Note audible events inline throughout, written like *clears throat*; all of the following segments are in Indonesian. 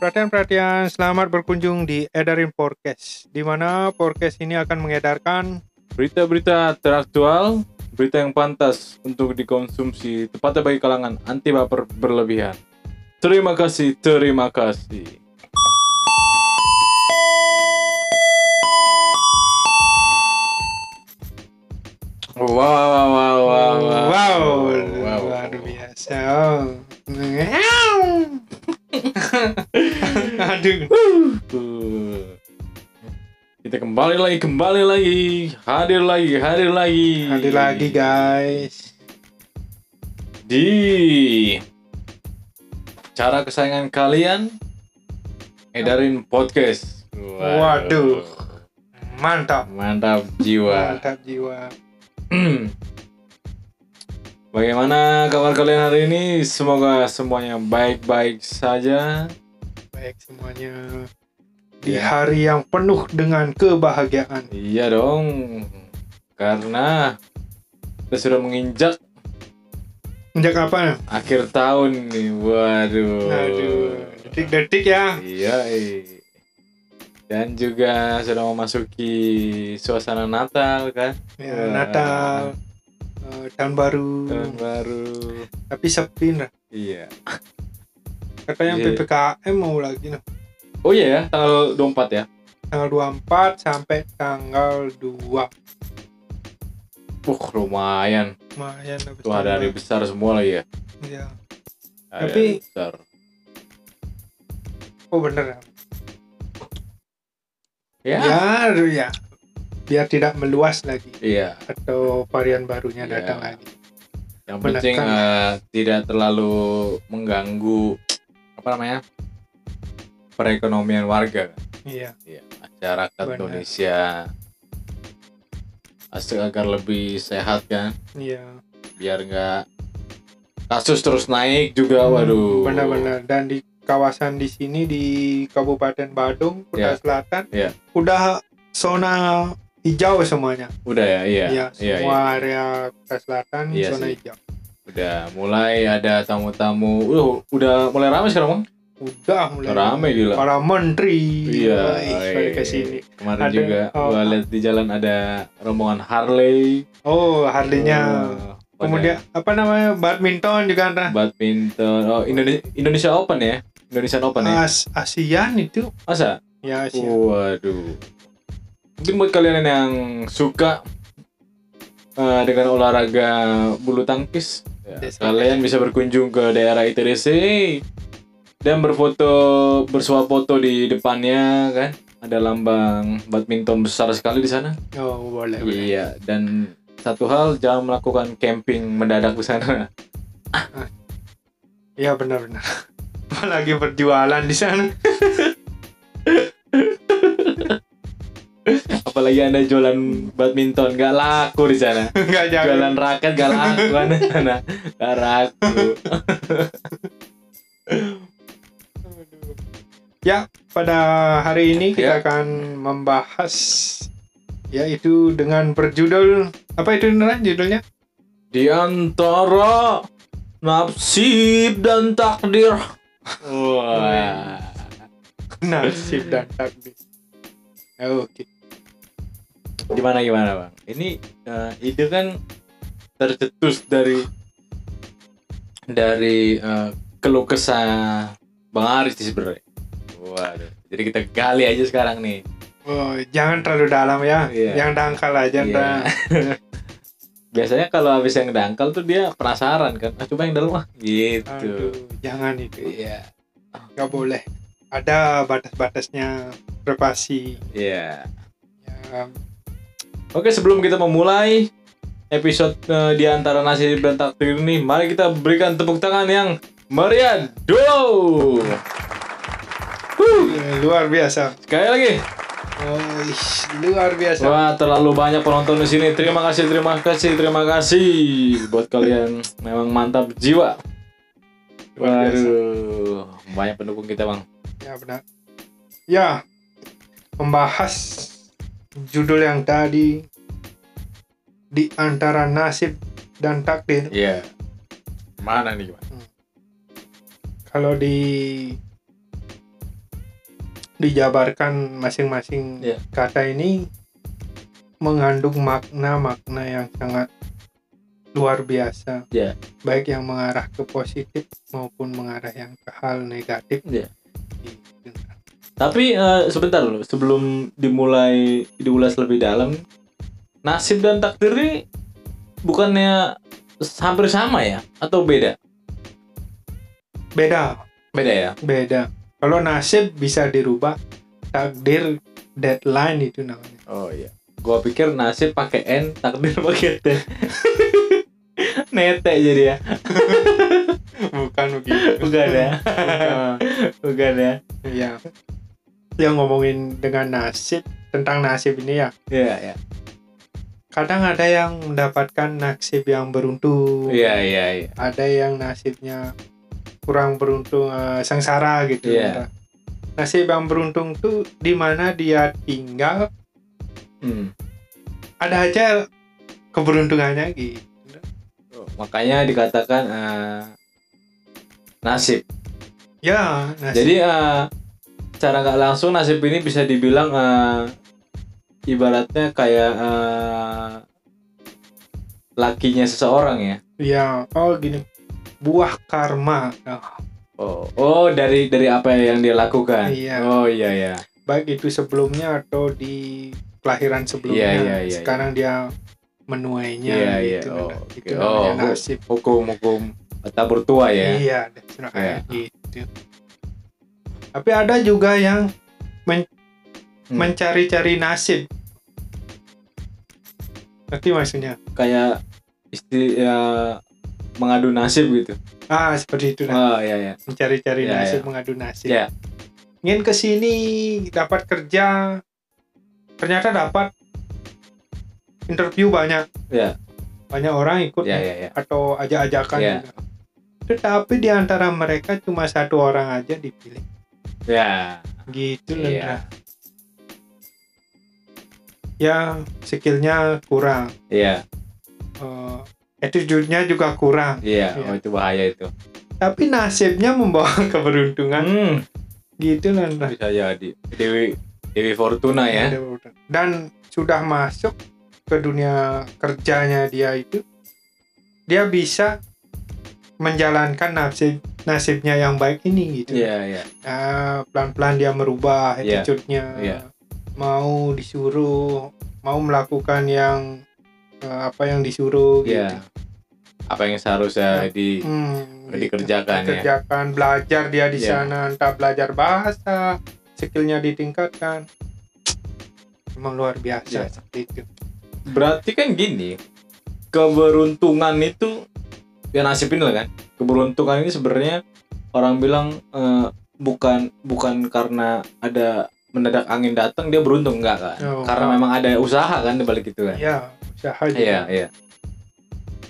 Perhatian-perhatian, selamat berkunjung di Edarin Podcast, di mana podcast ini akan mengedarkan Berita-berita teraktual, berita yang pantas untuk dikonsumsi tepatnya bagi kalangan anti baper berlebihan. Terima kasih, terima kasih. Wow, wow, wow, wow, wow, wow, wow. luar biasa. Oh. Meow. *laughs* Aduh, Uh. Kita kembali lagi, kembali lagi, hadir lagi, hadir lagi, hadir lagi guys. di cara kesayangan kalian edarin podcast Waduh. Mantap, mantap jiwa *clears throat* mantap jiwa. bagaimana kabar kalian hari ini semoga semuanya baik-baik saja Baik semuanya. Di Ya. hari yang penuh dengan kebahagiaan. iya dong karena kita sudah menginjak Sejak apa? akhir tahun nih waduh Aduh, detik-detik ya. Iya. eh. Dan juga sudah memasuki suasana Natal kan, Ya, Wah. Natal, eh, tahun baru. tahun baru. Tapi sepi nah. Iya. Katanya Iya. PPKM mau lagi nah. Oh iya ya, tanggal 24 ya. tanggal 24 sampai tanggal 2 Uh, lumayan. lumayan habis Tuh ada hari tanggal. besar semua lagi ya. Iya. Ada Tapi- hari besar. oh bener ya Ya. ya aduh, ya biar tidak meluas lagi Iya. atau varian barunya Iya. datang lagi Yang Beneran. penting eh, tidak terlalu mengganggu apa namanya? perekonomian warga kan. iya Iya, masyarakat Benar. Indonesia asal agar lebih sehat kan. iya biar nggak kasus terus naik juga Ya, waduh Hmm, benar-benar dan di kawasan di sini di Kabupaten Badung Kota Iya. Selatan Iya. udah zona hijau semuanya udah ya iya Iya, iya, semua iya. area Kota Selatan Iya zona sih. hijau udah mulai ada tamu-tamu udah udah mulai ramai sekarang bang udah mulai ramai gila para menteri iya Wih, balik ke sini kemarin Ada- juga oh. gua lihat di jalan ada rombongan Harley Oh, Harley-nya. Eh, ada Kemudian ah. apa namanya? Badminton juga ada. badminton oh Indonesia Indonesia Open ya Indonesian Open ya As ASEAN Ah, itu. masa Ya, ASEAN. Oh. Waduh. Mungkin buat kalian yang suka eh, dengan olahraga bulu tangkis, ya, Yes. kalian bisa berkunjung ke daerah ITDC dan berfoto, bersuap foto di depannya kan. Ada lambang badminton besar sekali di sana. Oh, boleh. boleh. Iya, dan satu hal jangan melakukan camping mendadak di sana. *laughs* Ya, benar-benar. *laughs* Apalagi berjualan di sana. *laughs* Apalagi Anda jualan badminton nggak laku di sana. Enggak jalan. jualan raket gak laku kan nah gak laku Ya, pada hari ini kita Ya. akan membahas yaitu dengan berjudul apa itu Nera judulnya? *laughs* di antara nasib dan takdir wah Nasib dan takdir. Oh, Oke. gimana gimana bang ini eh, ide kan tercetus dari dari eh, keluh kesah bang Aris sih sebenarnya waduh jadi kita gali aja sekarang nih Oh, jangan terlalu dalam ya. Iya. Yang dangkal aja, Iya. *laughs* Nera. biasanya kalau habis yang dangkal tuh dia penasaran kan ah, coba yang dalam ah Aduh, gitu jangan itu. iya nggak boleh ada batas-batasnya privasi iya ya, Oke sebelum kita memulai episode eh, di antara nasi dan takdir ini, mari kita berikan tepuk tangan yang meriah dulu. Huh, luar biasa Sekali lagi, Oh, ih, luar biasa wah terlalu banyak penonton di sini. Terima kasih, terima kasih, terima kasih buat kalian memang mantap jiwa. Luar biasa. Waduh, banyak pendukung kita bang. Ya benar. Ya, membahas judul yang tadi di antara nasib dan takdir. Iya. Mana nih bang? Kalau di dijabarkan masing-masing Iya. kata ini mengandung makna-makna yang sangat luar biasa. Iya. Baik yang mengarah ke positif maupun mengarah yang ke hal negatif. Iya. Gitu. Tapi eh, sebentar loh, sebelum dimulai diulas lebih dalam, nasib dan takdir ini bukannya hampir sama ya? Atau beda? Beda Beda ya. beda kalau nasib bisa dirubah takdir deadline itu namanya Oh iya. Gua pikir nasib pakai N, takdir pakai T. *laughs* Nete jadi ya. bukan begitu *laughs* Bukan ya. Bukan. *laughs* Bukan ya. ya yang ngomongin dengan nasib tentang nasib ini ya Iya, iya. kadang ada yang mendapatkan nasib yang beruntung Iya, iya, iya. ada yang nasibnya kurang beruntung eh, sengsara gitu Iya. nasib yang beruntung tuh di mana dia tinggal Hmm. ada aja keberuntungannya gitu Makanya dikatakan eh, nasib. ya nasib Jadi eh, secara nggak langsung nasib ini bisa dibilang eh, ibaratnya kayak eh, lakinya seseorang ya. Ya, oh gini. Buah karma. Nah, Oh, oh dari dari apa yang dia lakukan? Iya. Oh iya iya. baik itu sebelumnya atau di kelahiran sebelumnya. Iya, iya, iya, Sekarang dia menuainya Iya, iya. gitu. Oh, Nah, oke. itu namanya Oh, nasib. Hukum hukum tabur tua ya. Iya, that's right. Iya. gitu. Tapi ada juga yang men- Hmm. mencari-cari nasib. Ngerti maksudnya? Kayak isti ya, mengadu nasib gitu. Ah, seperti itu. nah. Oh iya iya. Mencari-cari Iya, nasib, mengadu nasib. Iya. Ingin ke sini dapat kerja, ternyata dapat interview banyak. Iya. banyak orang ikut Iya iya iya. atau ajak-ajakan Iya. juga. Tetapi di antara mereka cuma satu orang aja dipilih. Iya. Gitu Iya. Lendra. Ya, skillnya kurang. Iya Eh, attitude-nya juga kurang. iya. Iya. Oh itu bahaya itu. Tapi nasibnya membawa *laughs* keberuntungan. Hmm. Gitu Lendra. Bisa jadi Dewi Dewi Fortuna ya. Dan sudah masuk ke dunia kerjanya dia itu, dia bisa menjalankan nasib nasibnya yang baik ini gitu. Iya iya. Nah, pelan-pelan dia merubah Iya. attitude-nya. Iya. Mau disuruh, mau melakukan yang eh, apa yang disuruh gitu. Iya. Apa yang seharusnya di Hmm, gitu. dikerjakan ya. Dikerjakan, belajar dia di Iya. sana, entah belajar bahasa, skillnya ditingkatkan. Emang luar biasa Iya. seperti itu. Berarti kan gini, keberuntungan itu ya nasibin lah kan. Keberuntungan ini sebenarnya orang bilang eh, bukan bukan karena ada mendadak angin datang dia beruntung enggak kan? Oh. Karena memang ada usaha kan di balik itu kan. Ya, usaha juga. Iya, iya.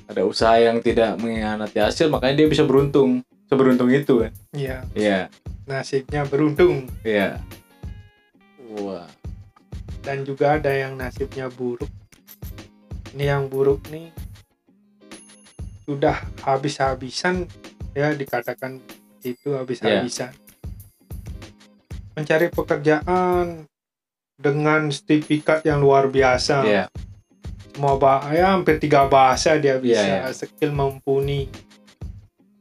Ada usaha yang tidak mengkhianati hasil makanya dia bisa beruntung. Seberuntung itu kan. Iya, Iya, nasibnya beruntung iya. Wah. dan juga ada yang nasibnya buruk. Ini yang buruk nih sudah habis-habisan ya dikatakan itu habis-habisan. Mencari pekerjaan dengan sertifikat yang luar biasa. Iya, Semua bah ya hampir tiga bahasa dia bisa Iya, skill mumpuni.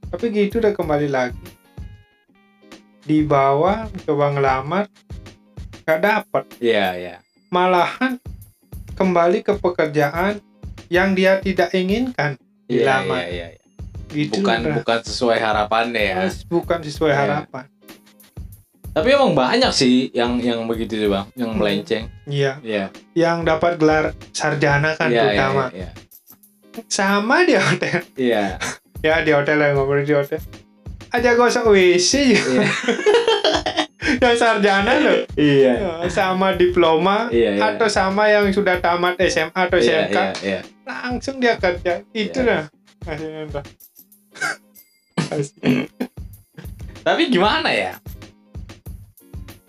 Tapi gitu udah kembali lagi. Dibawa coba ngelamar gak dapat iya, iya. malahan kembali ke pekerjaan yang dia tidak inginkan Iya, Dilamar. iya, iya, iya. gitu bukan Lendra. bukan sesuai harapannya ya. bukan sesuai Iya. harapan Tapi emang banyak sih yang yang begitu sih bang, Hmm. yang melenceng. iya Iya. yang dapat gelar sarjana kan Iya, iya, terutama iya. sama di hotel Iya. ya di hotel yang ngobrol di hotel aja gosok WC *laughs* Iya. yang sarjana loh Iya. sama diploma Iya, iya. atau sama yang sudah tamat SMA atau Iya, SMK iya, iya. langsung dia kerja itu Iya. dah hasilnya Lendra. Asik. Tapi gimana ya?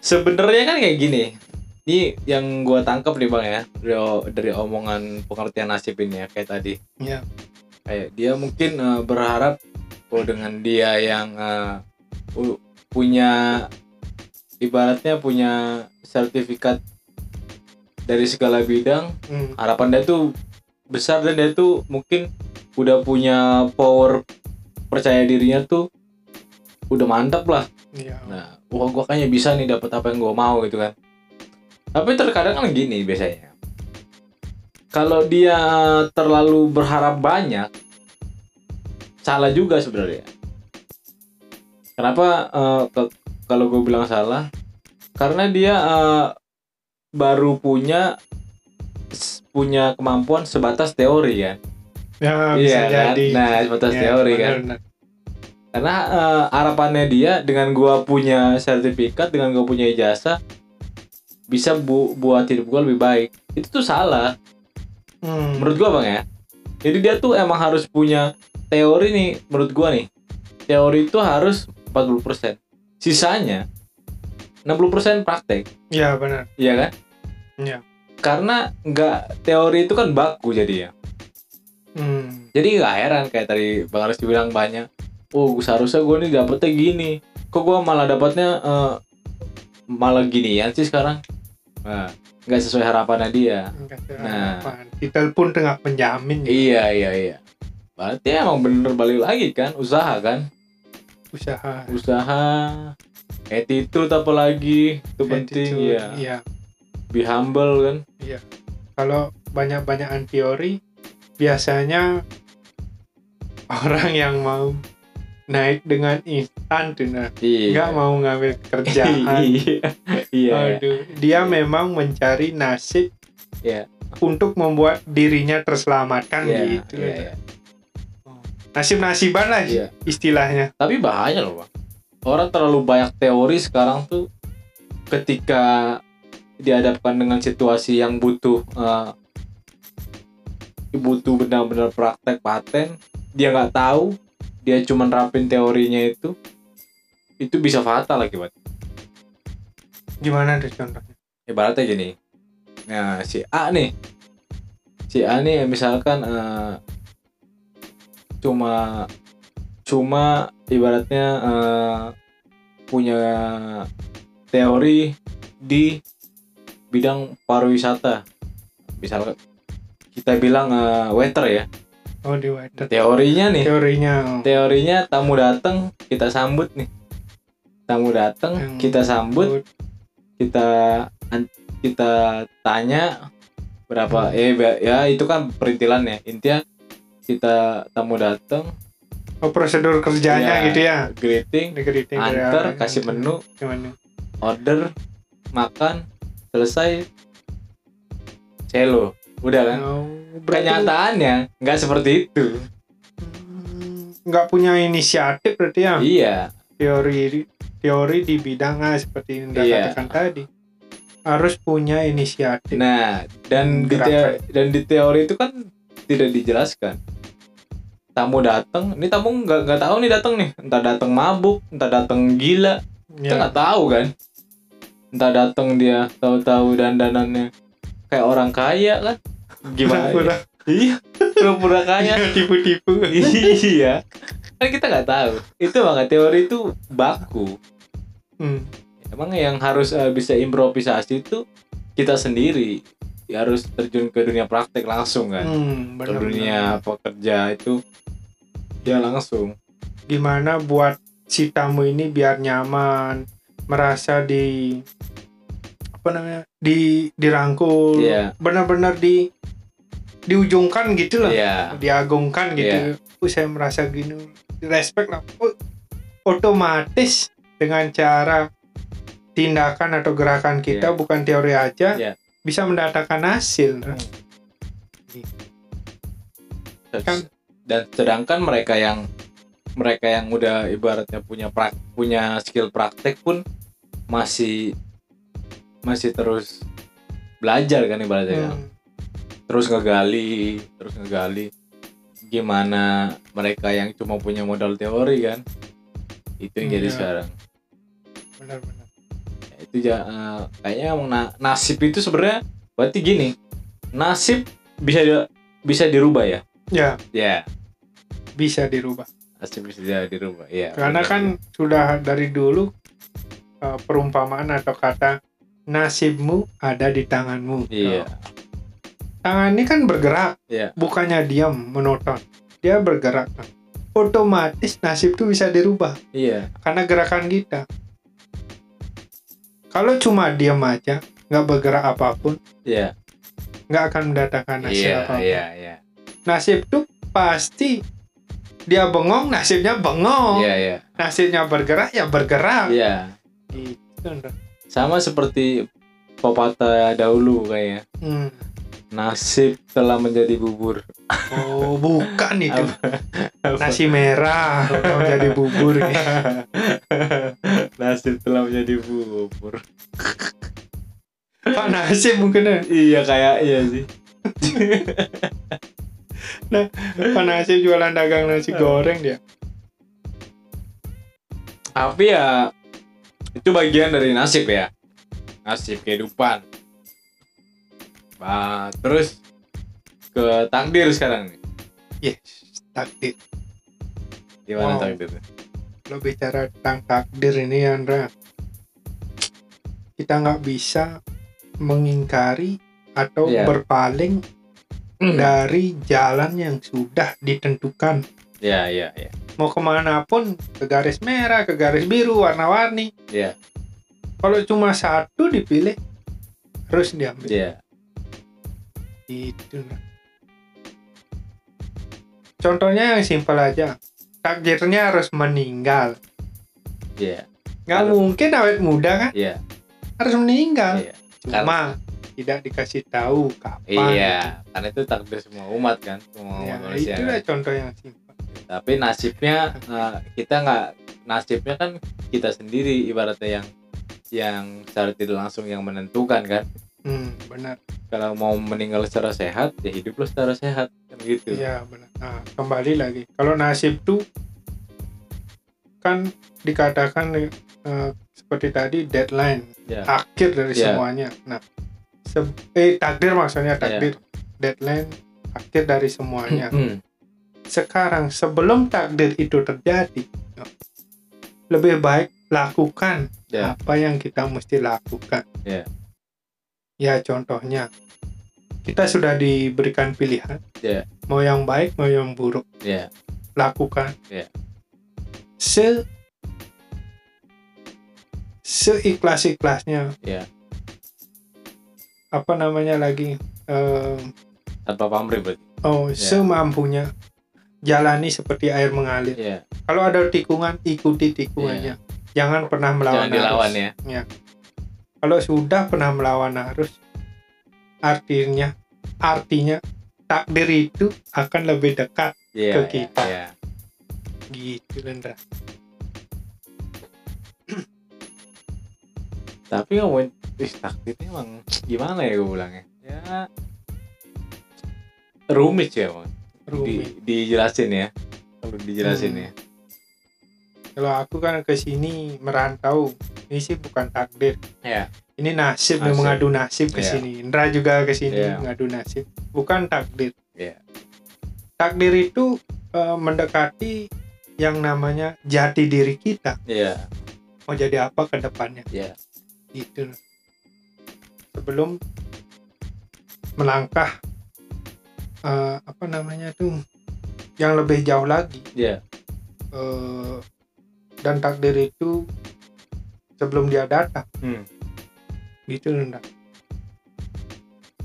Sebenarnya kan kayak gini. Ini yang gua tangkap nih bang ya dari, dari omongan pengertian nasib ini ya kayak tadi. Iya. Kayak dia mungkin eh, berharap kalau dengan dia yang eh, u- punya ibaratnya punya sertifikat dari segala bidang Hmm. harapan dia tuh besar dan dia tuh mungkin udah punya power percaya dirinya tuh udah mantap lah Iya. nah wah gua kayaknya bisa nih dapat apa yang gua mau gitu kan tapi terkadang kan gini biasanya kalau dia terlalu berharap banyak salah juga sebenarnya kenapa eh, ke- kalau gue bilang salah karena dia eh, baru punya s- punya kemampuan sebatas teori kan Ya, bisa iya kan? jadi. nah sebatas Ya, teori kan benar-benar. karena eh, harapannya dia dengan gua punya sertifikat dengan gua punya ijazah bisa bu buat hidup gua lebih baik itu tuh salah Hmm. menurut gua bang ya jadi dia tuh emang harus punya teori nih menurut gua nih teori itu harus 40% sisanya 60% praktek Iya, benar. Iya kan? Iya. Karena nggak teori itu kan baku jadi ya. Hmm. Jadi nggak heran kayak tadi Bang Aris bilang banyak. Oh, gua- seharusnya gue nih dapetnya gini. Kok gue malah dapatnya malah ginian sih sekarang? Nah, nggak sesuai harapannya dia. Enggak ada Nah. harapan. Ditelepon dengan penjamin ya. Iya iya iya. Berarti emang bener balik lagi kan usaha kan usaha. usaha attitude apalagi itu penting attitude. ya Iya. be humble kan Kalau banyak-banyakan teori biasanya orang yang mau naik dengan instan tuh nah. nggak iya mau ngambil kerjaan. iya *laughs* iya Aduh, dia memang mencari nasib Iya. untuk membuat dirinya terselamatkan iya, gitu. iya, iya. Nasib-nasiban lah Iya. istilahnya. Tapi bahaya loh, Bang. Orang terlalu banyak teori sekarang tuh ketika dihadapkan dengan situasi yang butuh eh, butuh benar-benar praktek paten, dia nggak tahu, dia cuma nerapin teorinya itu, itu bisa fatal akibat. Gimana tuh contohnya? Ibaratnya gini, nah si A nih, si A nih misalkan eh, cuma cuma ibaratnya eh, punya teori di bidang pariwisata misalkan kita bilang eh, waiter ya Oh, di waiter. teorinya nih Teorinya. teorinya tamu datang kita sambut nih tamu datang Yang kita sambut kita an- kita tanya berapa ya ba- ya itu kan perintilan ya intinya kita tamu datang Oh, prosedur kerjanya Iya. gitu ya. greeting Negeri ya. antar kasih menu Gimana? order makan selesai celo udah kan Oh, berarti- kenyataannya nggak seperti itu Hmm, nggak punya inisiatif berarti ya iya teori teori di bidang ah, seperti yang Anda Iya. katakan tadi harus punya inisiatif nah dan di Gerakan. teo- dan di teori itu kan tidak dijelaskan tamu datang ini tamu nggak nggak tahu nih datang nih entah datang mabuk entah datang gila kita ya. nggak tahu kan entah datang dia tahu-tahu dandanannya kayak orang kaya kan gimana *laughs* ya? Pura-pura. iya pura-pura kaya tipu-tipu iya kan kita nggak tahu itu makanya teori itu baku Hmm, emang yang harus eh, bisa improvisasi itu kita sendiri Ya, harus terjun ke dunia praktek langsung kan hmm, benar-benar. ke dunia pekerja itu ya langsung gimana buat si tamu ini biar nyaman merasa di apa namanya di dirangkul Iya. benar-benar di diujungkan gitu lah iya diagungkan gitu. Uh, saya merasa gini, respect lah. Uh, otomatis dengan cara tindakan atau gerakan kita Iya. bukan teori aja Iya. bisa mendatangkan hasil. Kan- dan sedangkan mereka yang mereka yang udah ibaratnya punya prak, punya skill praktek pun masih masih terus belajar kan ibaratnya kan? Hmm. terus ngegali terus ngegali gimana mereka yang cuma punya modal teori kan itu yang jadi Iya. sekarang benar-benar Ya, itu ja, eh, kayaknya emang na- nasib itu sebenarnya berarti gini nasib bisa di- bisa dirubah ya ya ya bisa dirubah nasib bisa dirubah ya karena kan sudah dari dulu eh, perumpamaan atau kata nasibmu ada di tanganmu iya tangan ini kan bergerak Iya. bukannya diam menonton dia bergerak otomatis nasib tuh bisa dirubah iya karena gerakan kita kalau cuma diam aja nggak bergerak apapun iya nggak akan mendatangkan nasib iya apapun iya iya nasib tuh pasti dia bengong nasibnya bengong iya iya nasibnya bergerak ya bergerak iya gitu Ndra. sama seperti pepatah dahulu kayaknya Hmm. nasib telah menjadi bubur oh bukan itu Apa? nasi merah kalau jadi bubur *laughs* nasib telah menjadi bubur pak nasib mungkin ya. iya kayak iya sih pak nasib jualan dagang nasi goreng dia tapi ya itu bagian dari nasib ya nasib kehidupan bah, terus ke takdir sekarang nih Ya, yes takdir gimana Wow. takdir lo bicara tentang takdir ini Andra kita nggak bisa mengingkari atau Iya. berpaling Hmm. dari jalan yang sudah ditentukan ya ya ya mau kemana pun ke garis merah ke garis biru warna-warni Iya. kalau cuma satu dipilih harus diambil ya itu nah. contohnya yang simpel aja takdirnya harus meninggal ya nggak Harus. mungkin awet muda kan ya harus meninggal Iya. cuma tidak dikasih tahu kapan iya karena itu takdir semua umat kan semua ya, umat manusia itulah kan. contoh yang simpel tapi nasibnya eh, kita nggak nasibnya kan kita sendiri ibaratnya yang yang secara tidak langsung yang menentukan kan hmm, benar kalau mau meninggal secara sehat ya hiduplah secara sehat kan gitu Iya benar. Nah, kembali lagi. Kalau nasib tuh kan dikatakan eh, seperti tadi deadline Ya. akhir dari Ya. semuanya. Nah, se- eh takdir maksudnya takdir deadline akhir dari semuanya. Hmm. Sekarang sebelum takdir itu terjadi, lebih baik lakukan Ya. apa yang kita mesti lakukan. Ya. Ya contohnya kita sudah diberikan pilihan. Ya. Mau yang baik, mau yang buruk, Ya. lakukan. Ya. Se seikhlas-ikhlasnya. Ya. Apa namanya lagi? Em, Tanpa pamrih berarti. oh, semampunya. Jalani seperti air mengalir. Iya. Kalau ada tikungan, ikuti tikungannya. Jangan pernah melawan Ya. Jangan dilawan arus. ya. Kalau sudah pernah melawan arus, artinya artinya takdir itu akan lebih dekat Iya. Ke iya, kita. Iya. gitu, Lendra. Tapi ngomongin ih, takdirnya emang gimana ya gue bilangnya? Ya rumit ya emang. Rumit. Di, dijelasin ya. Perlu dijelasin Hmm. ya. Kalau aku kan ke sini merantau, ini sih bukan takdir. Iya. Ini nasib, Nasib. mengadu nasib ke Iya. sini. Indra juga ke sini Iya. mengadu nasib, bukan takdir. Iya. Takdir itu eh, mendekati yang namanya jati diri kita. Iya. Mau jadi apa ke depannya? Iya. Gitu. Sebelum melangkah eh, apa namanya tuh yang lebih jauh lagi. Iya. eh, dan takdir itu sebelum dia datang Hmm. gitu loh Nda.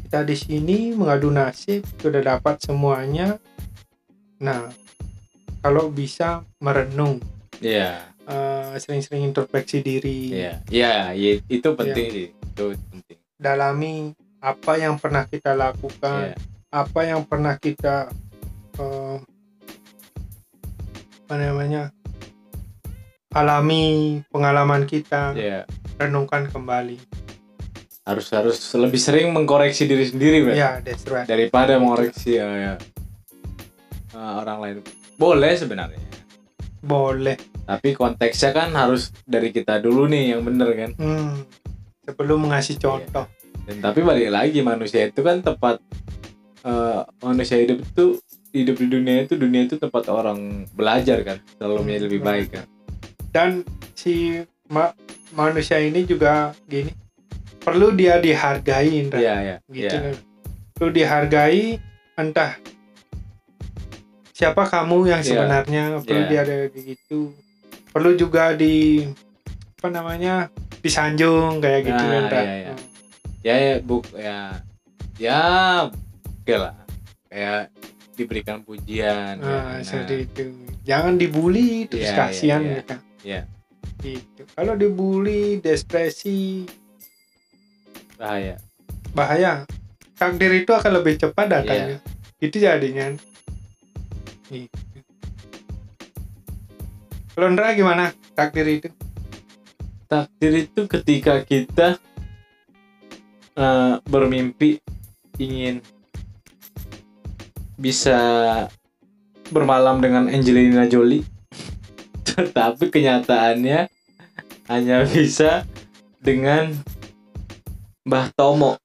kita di sini mengadu nasib sudah dapat semuanya nah kalau bisa merenung Iya. eh, sering-sering introspeksi diri Iya. Iya. i- Itu penting sih. Itu penting. dalami apa yang pernah kita lakukan Iya. apa yang pernah kita eh, apa namanya alami pengalaman kita Iya. renungkan kembali. Harus harus lebih sering mengkoreksi diri sendiri berarti. Ya, that's right. daripada mengoreksi ya, eh, eh, orang lain boleh sebenarnya Boleh. Tapi konteksnya kan harus dari kita dulu nih yang bener kan. Hmm, sebelum Iya. ngasih contoh. Dan tapi balik lagi manusia itu kan tempat eh, manusia hidup itu hidup di dunia itu dunia itu tempat orang belajar kan selalu menjadi lebih Hmm, baik kan. Dan si ma- manusia ini juga gini, perlu dia dihargai, Indra. Iya iya. gitu Iya. kan. Lu dihargai entah siapa kamu yang Iya. sebenarnya perlu Iya. dia ada gitu perlu juga di apa namanya disanjung kayak gitu Nah, kan Ra. iya, iya. Ya ya buk ya ya oke lah kayak diberikan pujian. ya, Nah, nah. seperti itu jangan dibully terus Iya, iya, kasihan iya. mereka Iya. gitu kalau dibully depresi bahaya. bahaya takdir itu akan lebih Iya. cepat datangnya itu jadinya gitu. Kalau Ndra gimana takdir itu Takdir itu ketika kita eh, bermimpi ingin bisa bermalam dengan Angelina Jolie, *laughs* tetapi kenyataannya hanya bisa dengan Mbah Tomo.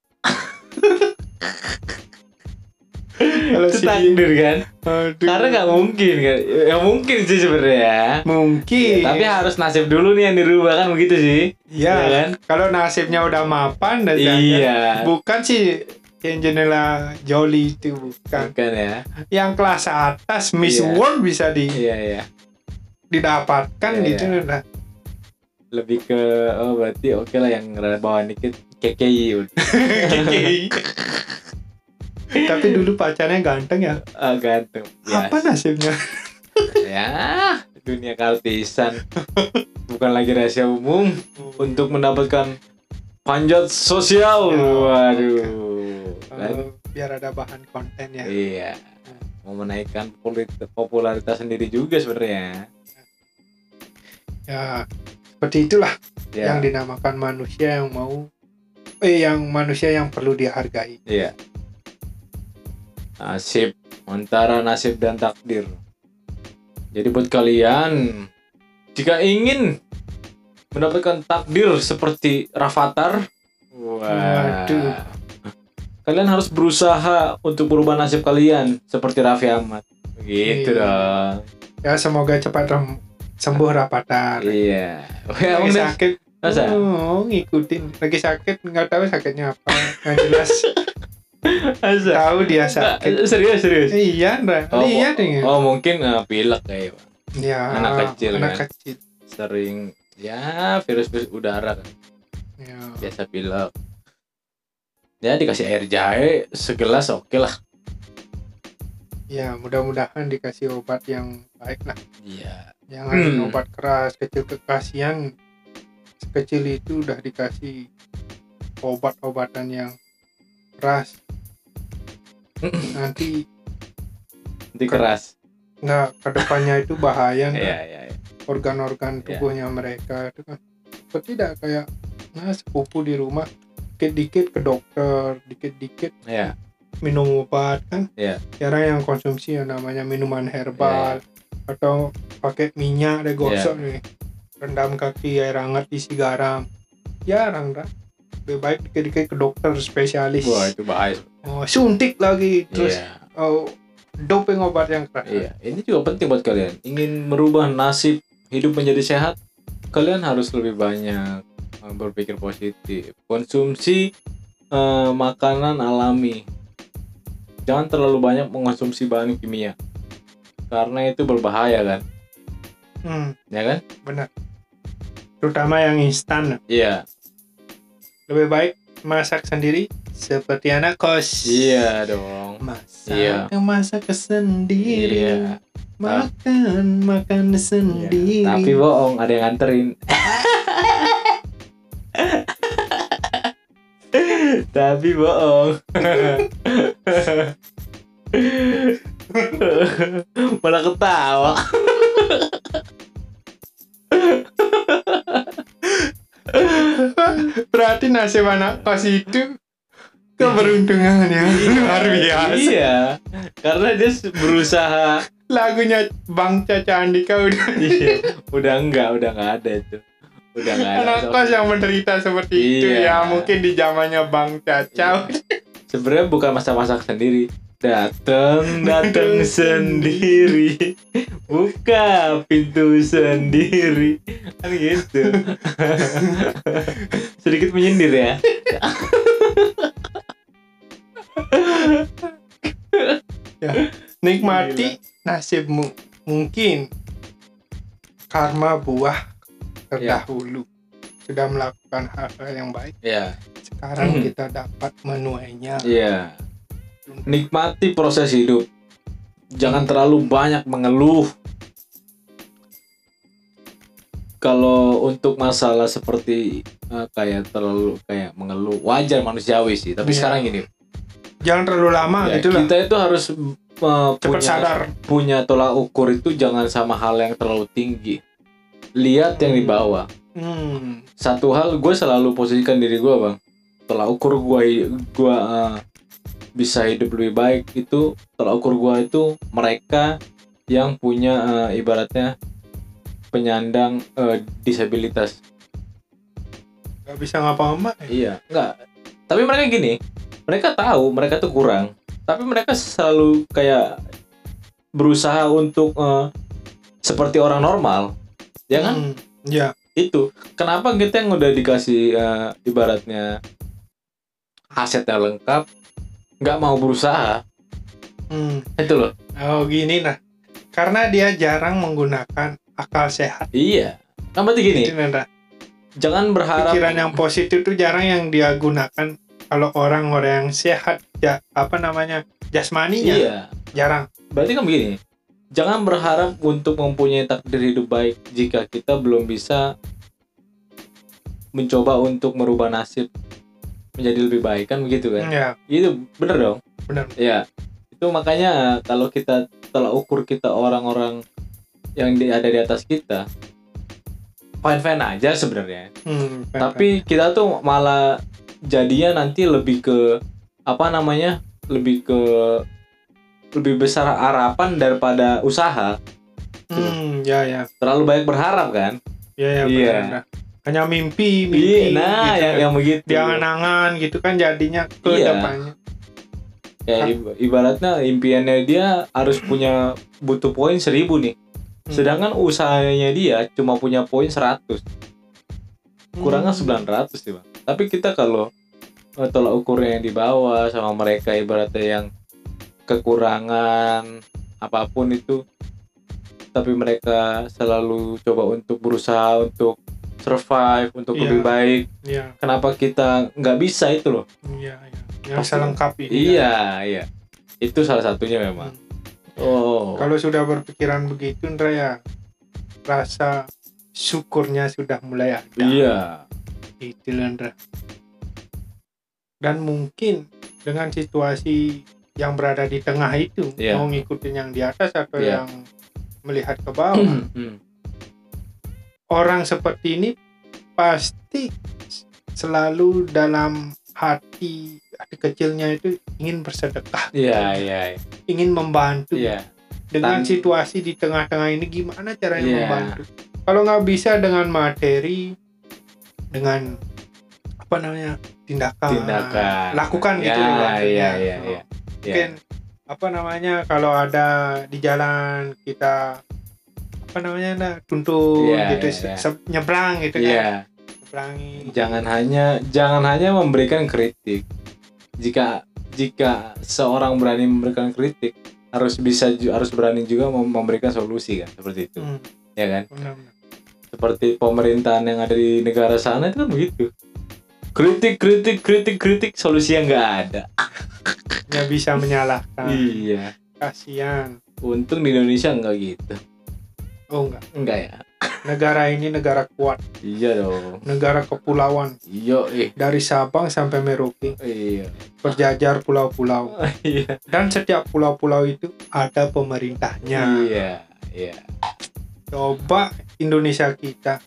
kalau Itu si takdir kan? Aduh. Karena nggak mungkin kan? Ya mungkin sih sebenarnya. mungkin Ya, tapi harus nasib dulu nih yang dirubah kan begitu sih? Iya. ya, Iya kan? kalau nasibnya udah mapan dan Iya. bukan sih Angelina Jolie itu bukan Bukan ya? yang kelas atas Miss Iya. World bisa di- Iya iya. didapatkan Iya, gitu iya. Ndra. *laughs* lebih ke oh berarti oke lah yang rada bawah dikit KKI udah Iya. tapi dulu pacarnya ganteng ya Ah, ganteng ya, apa nasibnya ya dunia kartisan *laughs* bukan lagi rahasia umum untuk mendapatkan panjat sosial Ya, waduh kan? Eh, biar ada bahan konten ya iya mau menaikkan popularitas, popularitas sendiri juga sebenarnya ya seperti itulah yang ya dinamakan manusia yang mau eh yang manusia yang perlu dihargai iya nasib antara nasib dan takdir jadi buat kalian jika ingin mendapatkan takdir seperti Rafathar, wah, Waduh. *laughs* kalian harus berusaha untuk berubah nasib kalian seperti Raffi Ahmad. Gitu Iya. dong. ya semoga cepat rem- sembuh rapatan Iya. Wah, lagi emang dah- sakit Masa? oh, ngikutin lagi sakit nggak tahu sakitnya apa nggak jelas Masa? tahu dia Nggak, sakit Serius, serius. iya ya. Ndra Oh, lihat ini Oh, mungkin eh, pilek kayak ya anak kecil, anak kan? kecil sering ya virus-virus udara kan ya. biasa pilek. Ya dikasih air jahe segelas oke lah. ya mudah-mudahan dikasih obat yang baik lah Iya. jangan Hmm. obat keras kecil kekasihan sekecil itu udah dikasih obat-obatan yang keras Hmm. nanti Nanti keras. nggak kedepannya itu bahaya nggak? Iya, iya, iya. organ-organ tubuhnya mereka itu kan seperti tidak kayak nah sepupu di rumah dikit-dikit ke dokter dikit-dikit Iya. minum obat kan Iya. jarang yang konsumsi yang namanya minuman herbal Iya. atau pakai minyak deh gosok nih rendam kaki air hangat isi garam jarang dah lebih baik dikit-dikit ke dokter spesialis Wah, itu bahaya. oh, suntik lagi terus Iya. oh, doping obat yang keras Iya, ini juga penting buat kalian. Ingin merubah nasib hidup menjadi sehat, kalian harus lebih banyak eh, berpikir positif. Konsumsi eh, makanan alami. Jangan terlalu banyak mengonsumsi bahan kimia. Karena itu berbahaya kan? Hmm, Ya kan? terutama yang instan Iya. lebih baik masak sendiri seperti anak kos Iya dong. masak Iya. masak sendiri makan makan sendiri Iya. Tapi bohong, ada yang nganterin. Tapi bohong. Malah ketawa. *laughs* berarti nasib anak kos itu keberuntungan ya luar biasa Iya. Karena dia berusaha lagunya Bang Caca Andika udah Iya, udah enggak, udah enggak ada itu. Udah enggak ada. anak kos yang menderita seperti itu Iya. ya mungkin di zamannya Bang Caca Sebenarnya bukan masak-masak sendiri. Dateng, dateng sendiri. Buka pintu sendiri. Kan gitu. Sedikit menyindir ya. nikmati nasibmu mungkin karma buah terdahulu sudah melakukan hal-hal yang baik Iya. sekarang Hmm. kita dapat menuainya Iya. Nikmati proses hidup. Jangan terlalu banyak mengeluh. Kalau untuk masalah seperti eh, kayak terlalu kayak mengeluh, wajar manusiawi sih. Tapi Iya. sekarang gini, jangan terlalu lama ya, gitu lah kita itu harus eh, cepat punya sadar punya tolak ukur itu jangan sama hal yang terlalu tinggi. Lihat yang di bawah. hmm. Satu hal gue selalu posisikan diri gue bang. Tolak ukur gue gua eh, bisa hidup lebih baik itu tolak ukur gue itu mereka yang punya eh, ibaratnya penyandang eh, disabilitas. Gak bisa ngapa-ngapain Iya, enggak. Tapi mereka gini, mereka tahu mereka tuh kurang, tapi mereka selalu kayak berusaha untuk eh, seperti orang normal. Ya kan? Hmm. ya Itu. Kenapa kita yang udah dikasih eh, ibaratnya asetnya lengkap nggak mau berusaha? hmm. Itu loh. oh gini nah karena dia jarang menggunakan akal sehat Iya. Nah, berarti gini, Gitu, Nanda. jangan berharap Iya. pikiran yang positif tuh jarang yang dia gunakan kalau orang-orang yang sehat ya apa namanya jasmaninya Iya. jarang Berarti kan begini, jangan berharap untuk mempunyai takdir hidup baik jika kita belum bisa mencoba untuk merubah nasib menjadi lebih baik kan begitu kan? ya Itu bener dong. benar Ya, itu makanya kalau kita telah ukur kita orang-orang yang di, ada di atas kita, fine fine aja sebenarnya. Hmm, benar. Tapi kita tuh malah jadinya nanti lebih ke apa namanya? Lebih ke lebih besar harapan daripada usaha. hmm, ya ya Terlalu banyak berharap kan? ya ya Iya. benar, Nanda. hanya mimpi Iya, mimpi nah gitu yang kan. yang begitu. Dia angan-angan gitu kan jadinya ke Iya. depannya Kayak ib- ibaratnya impiannya dia harus punya butuh poin 1000 nih. Hmm. Sedangkan usahanya dia cuma punya poin 100. kurangnya Hmm. 900 sih bang tapi kita kalau eh, tolak ukurnya yang dibawa sama mereka ibaratnya yang kekurangan apapun itu tapi mereka selalu coba untuk berusaha untuk survive untuk Iya. lebih baik iya kenapa kita nggak bisa itu loh iya iya yang Pasti. saya lengkapi iya iya itu salah satunya memang oh kalau sudah berpikiran begitu Ndra ya rasa syukurnya sudah mulai ada iya *clears throat* gitu loh, Ndra. dan mungkin dengan situasi yang berada di tengah itu Iya. mau ngikutin yang di atas atau Iya. yang melihat ke bawah *clears throat* Hmm. orang seperti ini pasti selalu dalam hati hati kecilnya itu ingin bersedekah iya iya ingin membantu iya dengan Tan- situasi di tengah-tengah ini gimana caranya Iya. membantu kalau nggak bisa dengan materi dengan apa namanya tindakan, tindakan lakukan gitu ya ya, iya Bang. iya iya Iya. mungkin apa namanya kalau ada di jalan kita apa namanya nah tuntun Iya, gitu iya, se- iya. se- nyebrang gitu Iya, kan nyeberangi jangan hanya jangan hanya memberikan kritik. Jika jika seorang berani memberikan kritik, harus bisa ju- harus berani juga mem- memberikan solusi kan, seperti itu. Hmm, Ya kan? benar-benar. Seperti pemerintahan yang ada di negara sana itu kan begitu. Kritik, kritik, kritik, kritik, solusi yang nggak ada. nggak bisa menyalahkan Iya. kasihan Untung di Indonesia nggak gitu. oh enggak Enggak ya? negara ini negara kuat Iya dong. negara kepulauan Iya, eh. dari Sabang sampai Merauke Iya. berjajar pulau-pulau Iya. dan setiap pulau-pulau itu ada pemerintahnya Iya. Iya. coba Indonesia kita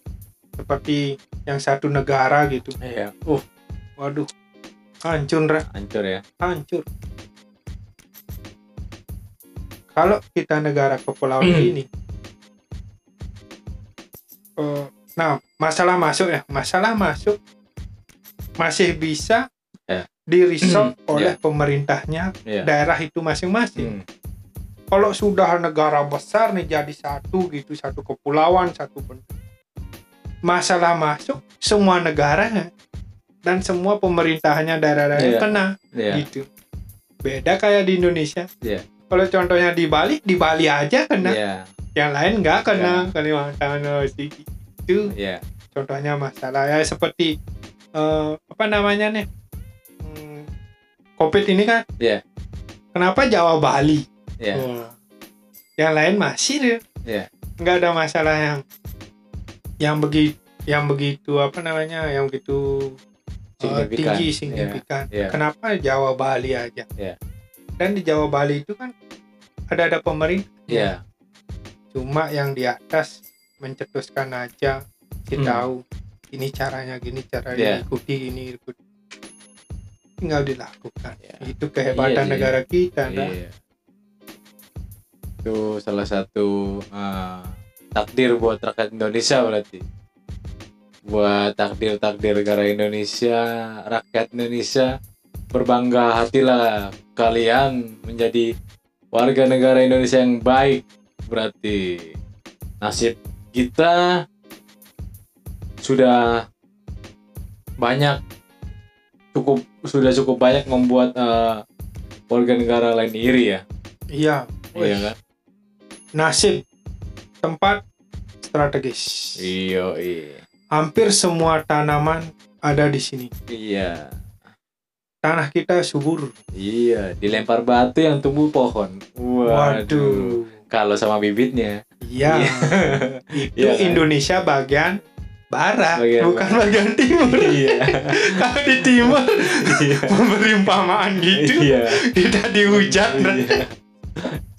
seperti yang satu negara gitu Iya. Uh, waduh hancur Ra. hancur ya. hancur kalau kita negara kepulauan Hmm. ini eh, nah masalah masuk ya masalah masuk masih bisa Ya. di resolve oleh pemerintahnya Iya. daerah itu masing-masing Hmm. kalau sudah negara besar nih jadi satu gitu satu kepulauan satu ben- masalah masuk semua negara dan semua pemerintahnya daerah-daerah Iya. kena Iya. gitu beda kayak di Indonesia Iya. kalau contohnya di Bali di Bali aja kena Iya. yang lain nggak kena Kalimantan oh, si- itu Iya. contohnya masalah ya seperti eh, apa namanya nih Hmm, COVID ini kan Iya. kenapa Jawa Bali Iya. Oh. Yang lain masih deh. Iya. Nggak ada masalah yang yang begitu yang begitu apa namanya yang begitu uh, Signifikan. tinggi signifikan. Iya. Kenapa Jawa Bali aja? Iya. Dan di Jawa Bali itu kan ada ada pemerintah Iya. cuma yang di atas mencetuskan aja si Hmm. tahu ini caranya gini cara Iya. diikuti ini ikuti tinggal dilakukan Iya. itu kehebatan Iya, iya. negara kita nah. Iya. Itu salah satu eh, takdir buat rakyat Indonesia berarti. Buat takdir-takdir negara Indonesia, rakyat Indonesia berbangga hatilah kalian menjadi warga negara Indonesia yang baik berarti nasib kita sudah banyak cukup sudah cukup banyak membuat eh, warga negara lain iri ya iya iya kan nasib tempat strategis. iya iya Hampir semua tanaman ada di sini. iya Tanah kita subur. iya dilempar batu yang tumbuh pohon waduh, Waduh. kalau sama bibitnya Iya. *laughs* Itu Iya kan? Indonesia bagian barat, Bagian bukan bagian timur. *laughs* iya Kalau di timur memberi umpamaan gitu, iya kita dihujat dan Iya.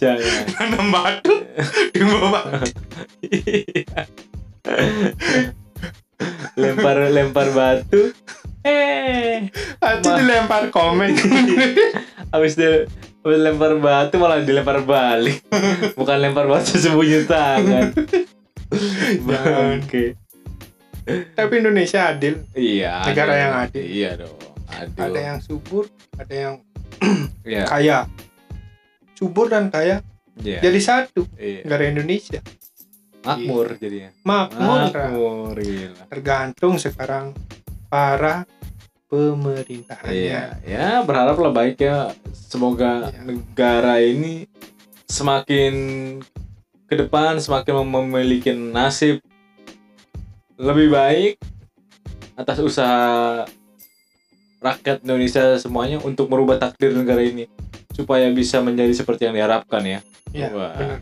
jangan tanam batu di bawah. lempar lempar batu eh Itu Wah. Iya. dilempar *laughs* komen. habis dia habis lempar batu malah dilempar balik bukan lempar batu sembunyi tangan Jangan. Oke. Tapi Indonesia adil. iya Negara aduh. yang adil. iya dong aduh Ada yang subur, ada yang Iya. kaya. Subur dan kaya Iya. jadi satu. Iya. negara Indonesia makmur jadinya makmur Ra. makmur gila tergantung sekarang para iya pemerintahnya ya berharaplah baik ya semoga Iya. negara ini semakin ke depan semakin mem- memiliki nasib lebih baik atas usaha rakyat Indonesia semuanya untuk merubah takdir negara ini supaya bisa menjadi seperti yang diharapkan ya Iya, Wah. benar.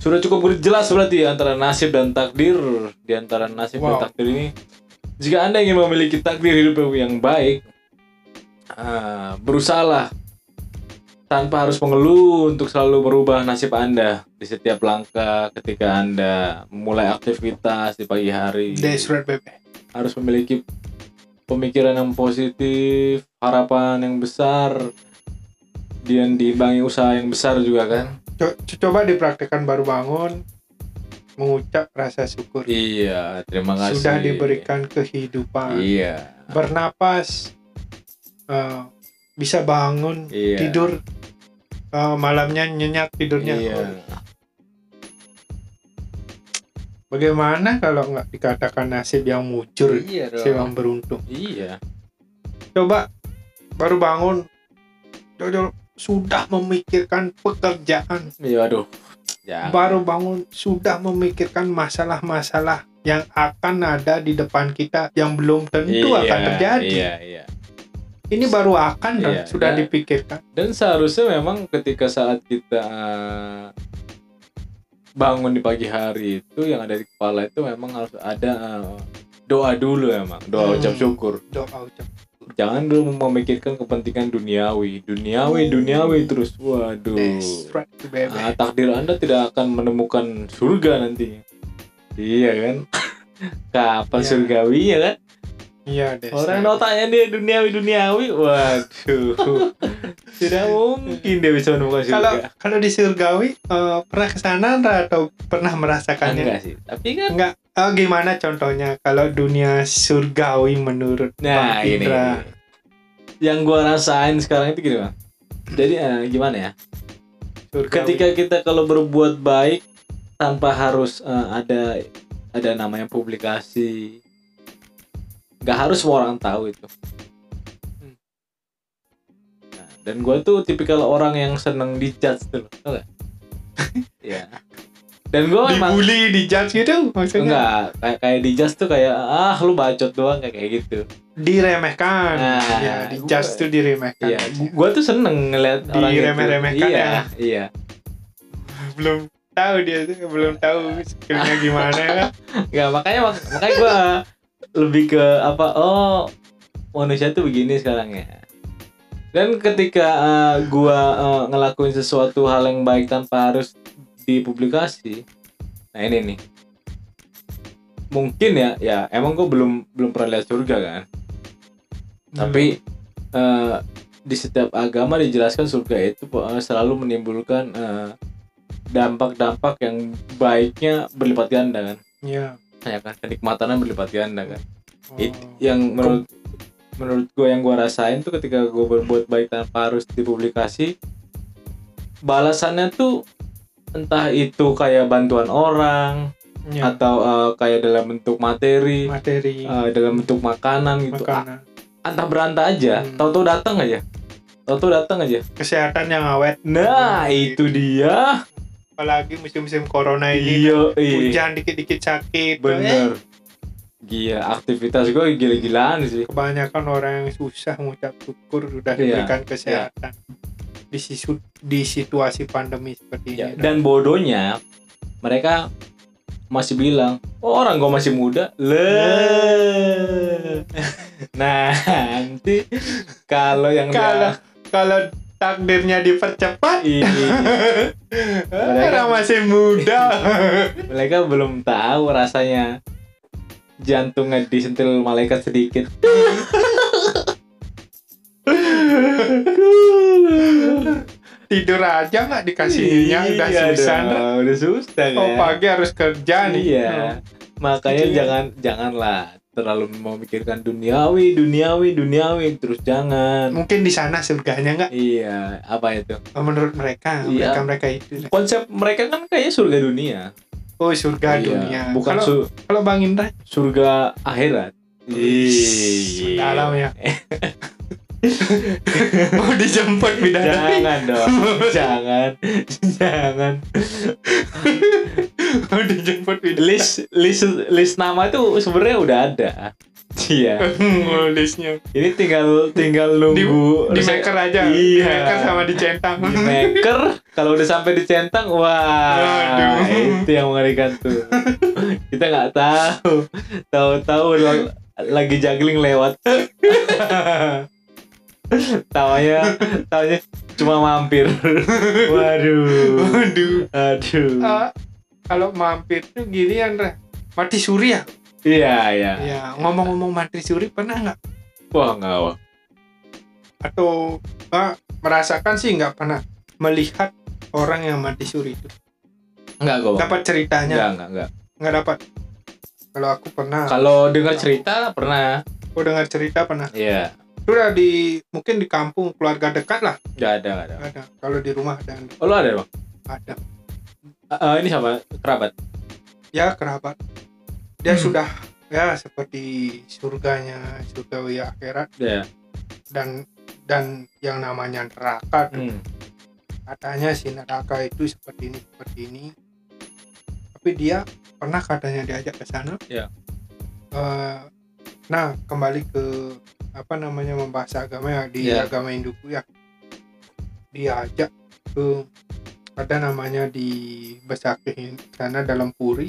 Sudah cukup jelas berarti ya antara nasib dan takdir di antara nasib Wow. dan takdir ini. Jika Anda ingin memiliki takdir hidup yang baik, ah, berusahalah tanpa harus mengeluh untuk selalu merubah nasib Anda di setiap langkah ketika Anda memulai aktivitas di pagi hari dari surat bebek harus memiliki pemikiran yang positif, harapan yang besar, dan diimbangi usaha yang besar juga kan. Co- coba dipraktekkan baru bangun mengucap rasa syukur Iya, terima kasih. sudah diberikan kehidupan Iya, bernapas eh, bisa bangun iya. tidur eh, malamnya nyenyak tidurnya Iya. bagaimana kalau nggak dikatakan nasib yang mucur Iya dong. nasib yang beruntung Iya. coba baru bangun jauh-jauh sudah memikirkan pekerjaan Iya, aduh. Ya. Jangan. baru bangun sudah memikirkan masalah-masalah yang akan ada di depan kita yang belum tentu Iya, akan terjadi Iya, iya. ini baru akan kan, Iya, sudah iya. dipikirkan Dan seharusnya memang ketika saat kita eh, bangun di pagi hari itu yang ada di kepala itu memang harus ada eh, doa dulu emang, doa Hmm. ucap syukur. doa ucap Jangan dulu memikirkan kepentingan duniawi, Hmm. duniawi, duniawi terus. Waduh. Desperate to baby. Ah, takdir Anda tidak akan menemukan surga nantinya. Iya kan? *laughs* Kapan Iya. surgawi ya kan? iya desperate. *laughs* Orang yang otaknya dia duniawi duniawi. Waduh. Tidak mungkin dia bisa menemukan Kalau surga. kalau di surgawi eh, pernah ke sana nggak atau pernah merasakannya? Enggak sih. Tapi kan Enggak. Oh, gimana contohnya kalau dunia surgawi menurut Bang Nah, ini. Fitra? ini. Yang gua rasain sekarang itu gini, Bang. Jadi eh, gimana ya? Surgawi. Ketika kita kalau berbuat baik tanpa harus eh, ada ada namanya publikasi. nggak harus semua orang tahu itu. Hmm. Nah, dan gua tuh tipikal orang yang seneng dijudge tuh, loh, *laughs* tau gak? Iya. Dan gua memang dibully, dijudge gitu maksudnya Oh, enggak kayak kayak dijudge tuh kayak ah lu bacot doang kayak kayak gitu. diremehkan. Nah, ya, dijudge tuh diremehkan. Iya, gue tuh seneng ngeliat orang itu. Diremeh-remehkan iya, ya. Iya, *laughs* belum tahu dia tuh, belum tahu skillnya gimana kan. Nggak, makanya mak- makanya gue lebih ke apa? Oh, manusia tuh begini sekarang ya. Dan ketika eh, gua eh, ngelakuin sesuatu hal yang baik tanpa harus dipublikasi, nah ini nih. Mungkin ya, ya emang gue belum belum pernah lihat surga kan. Tapi eh, di setiap agama dijelaskan surga itu eh, selalu menimbulkan eh, dampak-dampak yang baiknya berlipat ganda kan. ya. Ya kan kenikmatannya berlipat ganda kan. Oh. It- yang menurut menurut gue yang gue rasain tuh ketika gue berbuat baik tanpa harus dipublikasi balasannya tuh entah itu kayak bantuan orang Ya, atau eh, kayak dalam bentuk materi, materi eh, dalam bentuk makanan gitu. A- makanan. antah berantah aja Hmm. tahu-tahu datang aja tahu-tahu datang aja Kesehatan yang awet nah itu dia apalagi musim-musim corona Nah, ini. iya iya Hujan dikit-dikit sakit. Eh, bener gila aktivitas gue gila-gilaan sih kebanyakan orang yang susah mengucap syukur sudah Iya, diberikan kesehatan. Di sisu- di situasi pandemi seperti Ya, ini. dan bodohnya mereka masih bilang oh orang gue masih muda *laughs* le nah nanti kalau yang kalau kalau takdirnya dipercepat dia- orang masih muda *laughs* mereka belum tahu rasanya jantungnya disentil malaikat sedikit tidur aja nggak dikasihnya udah Iya susah dong, udah susah kan oh pagi harus kerja nih iya makanya Iya. jangan janganlah terlalu memikirkan duniawi duniawi duniawi terus jangan mungkin di sana surganya nggak iya apa itu menurut mereka Iya. mereka mereka itu konsep mereka kan kayak surga dunia oh surga Iya, dunia bukan kalau su- kalau bang Indra surga akhirat Iya. Iya. Ih. dalam *laughs* ya mau dijemput bidadari jangan *laughs* dong jangan jangan mau dijemput bidadari list list list nama itu sebenarnya udah ada iya nulisnya ini tinggal tinggal nunggu di maker aja di Iya. maker sama di centang di maker kalau udah sampai di centang wah Aduh. itu yang mengerikan tuh kita nggak tahu tahu-tahu l- lagi juggling lewat tawanya tawanya cuma mampir waduh *laughs* waduh aduh Eh, kalau mampir tuh gini Andra mati suri ya iya iya ya ngomong-ngomong mati suri pernah nggak wah nggak wah atau ah, merasakan sih nggak pernah melihat orang yang mati suri itu nggak gue dapat ceritanya nggak nggak nggak nggak dapat kalau aku pernah kalau dengar cerita pernah aku dengar cerita pernah iya itu udah di mungkin di kampung keluarga dekat lah nggak ada nggak ada ada kalau di rumah dan oh lo ada bang ada Eh, eh, ini sama kerabat ya kerabat dia Hmm. sudah ya seperti surganya surgawi akhirat ya dan dan yang namanya neraka tuh. hmm. katanya si neraka itu seperti ini seperti ini tapi dia pernah katanya diajak ke sana Iya. Eh, nah kembali ke apa namanya membahas agama ya di Iya. agama Hindu ya diajak ke ada namanya di Besakih di sana dalam puri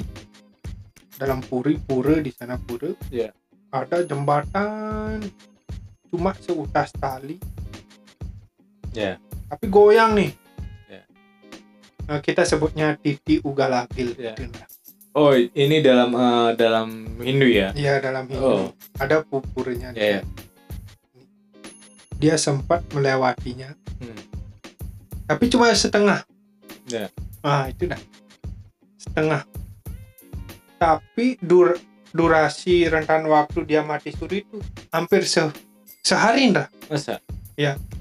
dalam puri pura di sana pura Iya. ada jembatan cuma seutas tali Iya. tapi goyang nih Iya. Nah, kita sebutnya titi ugalagil Iya. gitu lah. oh ini dalam eh, dalam Hindu ya Iya dalam Hindu Oh. ada pupurnya Iya, iya. dia sempat melewatinya Hmm. tapi cuma setengah Ya. ah itu dah setengah tapi dur durasi rentan waktu dia mati suri itu hampir se- sehari dah Masa?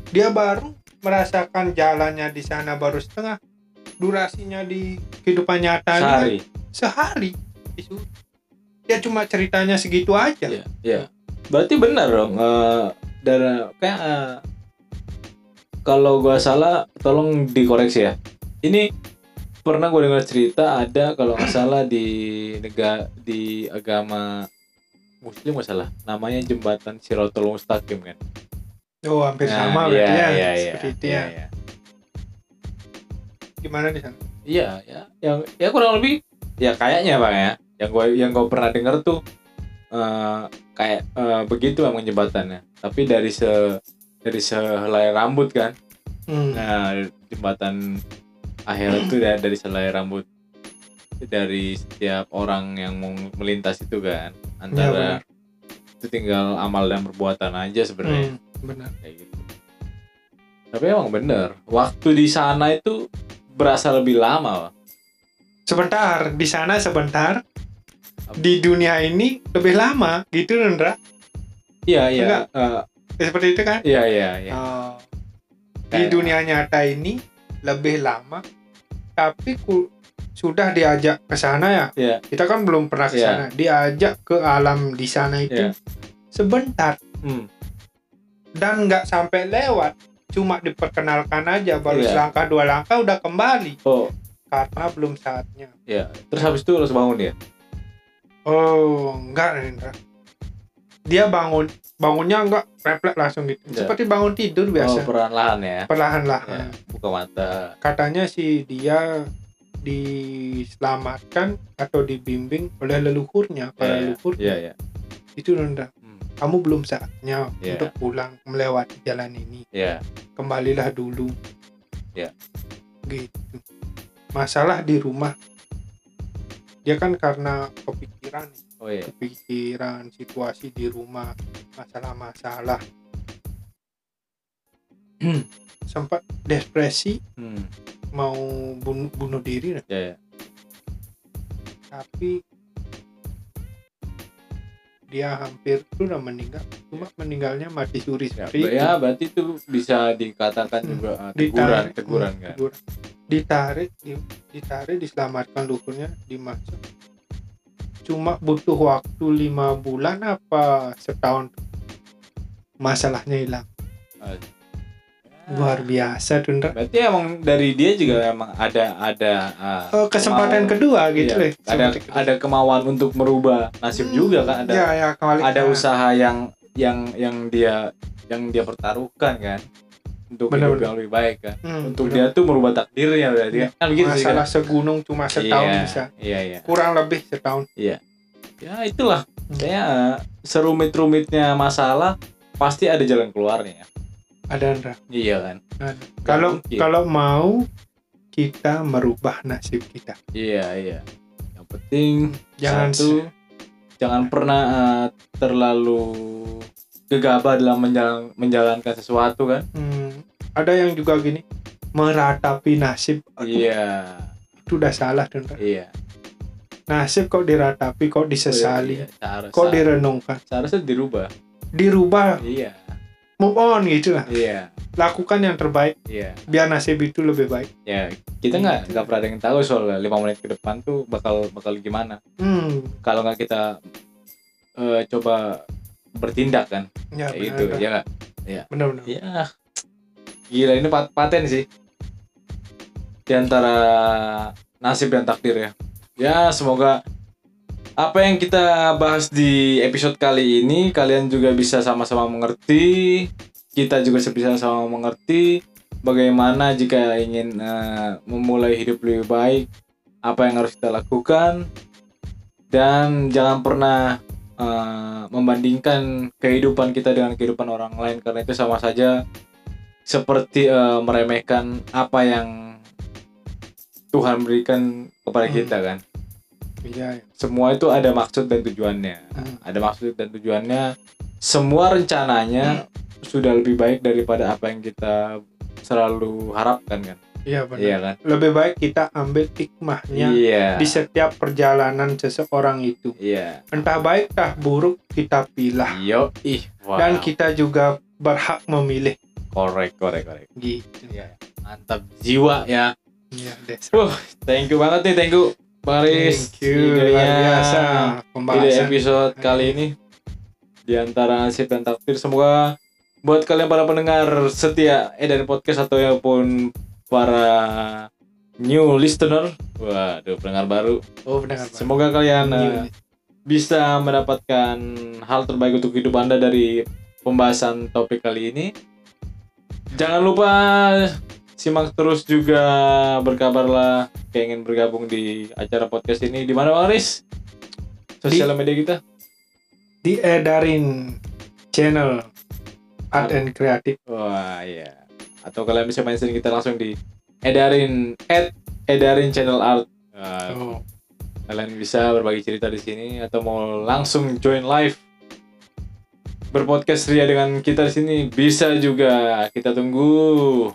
dia baru merasakan jalannya di sana baru setengah durasinya di kehidupan nyatanya Sehari. sehari itu dia cuma ceritanya segitu aja Iya. Iya. Berarti benar dong. eh dari kayak eh, kalau gua salah, tolong dikoreksi ya. Ini pernah gua dengar cerita ada kalau nggak salah di negara di agama Muslim nggak salah. Namanya jembatan Siratul Mustaqim kan. oh hampir Nah, sama iya, berarti ya iya, iya, seperti itu iya, ya iya. gimana di sana Iya, ya, yang ya kurang lebih ya kayaknya bang ya, yang gue yang gue pernah dengar tuh eh, kayak eh, begitu emang jembatannya. Tapi dari se dari sehelai rambut kan, Hmm. nah jembatan akhirat tuh da- dari selai rambut dari setiap orang yang mau melintas itu kan antara itu tinggal amal dan perbuatan aja sebenarnya Hmm, benar kayak gitu. Tapi emang bener, waktu di sana itu berasa lebih lama. Bang. sebentar di sana sebentar di dunia ini lebih lama gitu Rendra Iya iya. Enggak. Eh, Eh, seperti itu kan Iya iya iya. Oh. di Kayak- dunia nyata ini lebih lama tapi ku, sudah diajak ke sana ya Iya. kita kan belum pernah ke Iya. sana diajak ke alam di sana itu Iya. sebentar Hmm. dan nggak sampai lewat cuma diperkenalkan aja baru Iya. selangkah dua langkah udah kembali Oh karena belum saatnya iya. Terus habis itu harus bangun ya. Oh, enggak Rendra. Dia bangun bangunnya enggak refleks langsung gitu. Enggak. Seperti bangun tidur Iya. Oh biasa, Ah. perlahan ya. ya. perlahan-lahan. Buka mata. Katanya sih dia diselamatkan atau dibimbing oleh leluhurnya, para Iya, leluhurnya. Iya iya. Itu Rendra. Hmm, Kamu belum saatnya Iya. untuk pulang melewati jalan ini. Iya. Kembalilah dulu. Iya. Gitu. Masalah di rumah. Dia kan karena kepikiran Oh iya. pikiran situasi di rumah masalah-masalah *clears throat* sempat depresi Hmm. mau bunuh bunuh diri Iya iya. tapi dia hampir sudah meninggal cuma meninggalnya mati suri Ya, seperti ber- itu. ya, berarti itu bisa dikatakan Hmm. juga eh, teguran Ditarik, teguran hmm, kan. teguran. ditarik di- ditarik diselamatkan lukurnya dimasuk cuma butuh waktu lima bulan apa setahun masalahnya hilang Ah. luar biasa tuh Ndra. Berarti emang dari dia juga emang ada ada eh, Eh, kesempatan kemauan- kedua gitu iya, deh. Ada Kesempatan kedua. ada kemauan untuk merubah nasib juga kan ada ya, ya, kembali. ada Nah, usaha yang yang yang dia yang dia pertaruhkan kan untuk Benar, hidup yang lebih baik kan hmm, untuk benar. dia tuh merubah takdirnya berarti Iya. kan Kan begitu sih kan? masalah segunung cuma setahun Iya, bisa iya iya kurang lebih setahun ya itulah Hmm. saya serumit-rumitnya masalah pasti ada jalan keluarnya ya. ada Ndra. iya kan Ada. Nggak Nah, kalau mungkin. kalau mau kita merubah nasib kita iya iya yang penting jangan satu, jangan pernah eh, terlalu gegabah dalam menjalan- menjalankan sesuatu kan Hmm, ada yang juga gini meratapi nasib Aduh, iya itu udah salah tuh, Ndra. iya nasib kok diratapi kok disesali Iya, seharusnya- kok direnungkan seharusnya dirubah dirubah iya move on gitu lah iya lakukan yang terbaik iya biar nasib itu lebih baik ya kita nggak nggak pernah ada yang tahu soalnya lima menit ke depan tuh bakal bakal gimana hmm kalau nggak kita eh, coba bertindak kan ya kayak gitu benar, ya nggak benar benar Iya, ya gila ini pat- paten sih di antara nasib dan takdir ya ya semoga apa yang kita bahas di episode kali ini kalian juga bisa sama-sama mengerti kita juga bisa sama mengerti bagaimana jika ingin eh, memulai hidup lebih baik apa yang harus kita lakukan dan jangan pernah eh, membandingkan kehidupan kita dengan kehidupan orang lain karena itu sama saja seperti eh, meremehkan apa yang Tuhan berikan kepada Hmm. kita kan Iya, ya. semua itu ada maksud dan tujuannya Hmm. ada maksud dan tujuannya semua rencananya sudah lebih baik daripada apa yang kita selalu harapkan kan Iya benar. iya kan Lebih baik kita ambil hikmahnya iya di setiap perjalanan seseorang itu. iya Entah baik tah buruk kita pilah yo ih wow. dan kita juga berhak memilih korek korek korek gitu. iya mantap jiwa ya Iya, Des. thank you banget nih thank you Bang Aris. Thank you luar Idenya. biasa Ide pembahasan. episode kali ini di antara nasib dan takdir semoga buat kalian para pendengar setia Edan Podcast atau pun para new listener waduh pendengar baru Oh benar. Pak. semoga kalian eh, New. bisa mendapatkan hal terbaik untuk hidup Anda dari pembahasan topik kali ini. Jangan lupa simak terus juga berkabarlah kayak ingin bergabung di acara podcast ini di mana Bang Aris? Sosial media kita Diedarin channel Art and Creative. Wah iya. Atau kalian bisa mention kita langsung di edarin at edarin channel art. Wah, Oh, Kalian bisa berbagi cerita di sini atau mau langsung join live berpodcast ria dengan kita di sini bisa juga. Kita tunggu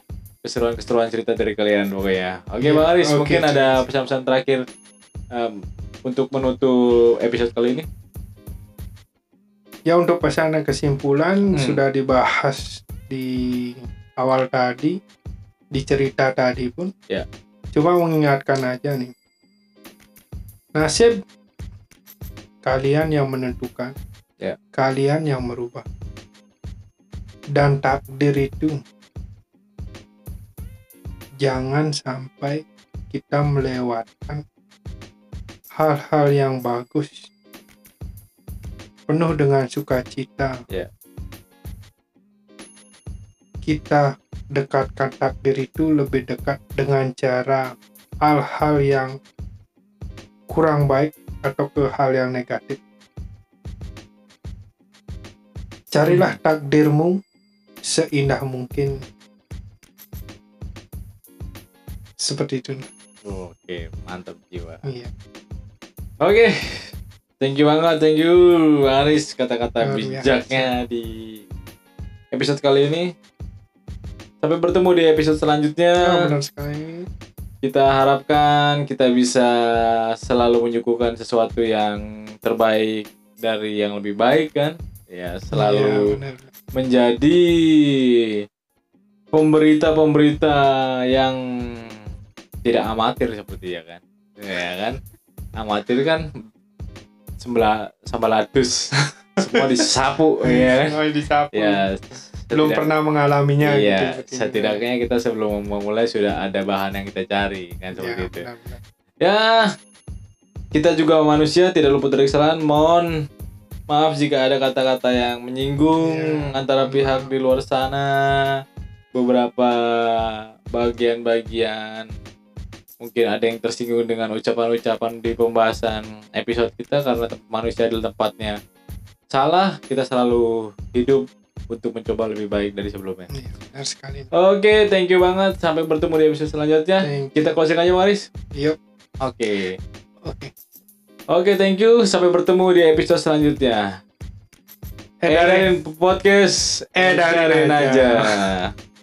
keseruan-keseruan cerita dari kalian pokoknya. ya. Oke Iya, Bang Aris, oke. mungkin ada pesan-pesan terakhir em, untuk menutup episode kali ini. Ya untuk pesan dan kesimpulan Hmm. sudah dibahas di awal tadi, di cerita tadi pun. Ya. Cuma mengingatkan aja nih. Nasib kalian yang menentukan. Ya. Kalian yang merubah. Dan takdir itu jangan sampai kita melewatkan hal-hal yang bagus penuh dengan sukacita. Ya. Kita dekatkan takdir itu lebih dekat dengan cara hal-hal yang kurang baik atau ke hal yang negatif. Hmm. Carilah takdirmu seindah mungkin. Seperti itu. Oke, mantap jiwa. Iya. Oke, thank you banget, thank you Bang Aris kata-kata Luar biasa. bijaknya di episode kali ini. Sampai bertemu di episode selanjutnya. Oh, benar sekali. Kita harapkan kita bisa selalu menyuguhkan sesuatu yang terbaik dari yang lebih baik kan. Ya, Iya, selalu benar. menjadi pemberita-pemberita yang tidak amatir seperti ya kan ya kan amatir kan sembelah sambaladus *laughs* semua disapu ya kan Oh, disapu. ya Belum setidak- pernah mengalaminya iya gitu. setidaknya kita sebelum memulai sudah ada bahan yang kita cari kan seperti itu benar-benar. Ya, kita juga manusia tidak luput dari kesalahan. Mohon maaf jika ada kata-kata yang menyinggung Ya, antara mohon maaf. pihak di luar sana. Beberapa bagian-bagian mungkin ada yang tersinggung dengan ucapan-ucapan di pembahasan episode kita karena tem- manusia adalah tempatnya salah. Kita selalu hidup untuk mencoba lebih baik dari sebelumnya. Iya, benar sekali. Eh, Oke, thank you banget. Sampai bertemu di episode selanjutnya. Thank you. Kita closing aja, Waris. Yup, Oke. oke. Oke, thank you. Sampai bertemu di episode selanjutnya. Eh, Edarin podcast, Edarin edarin aja. aja.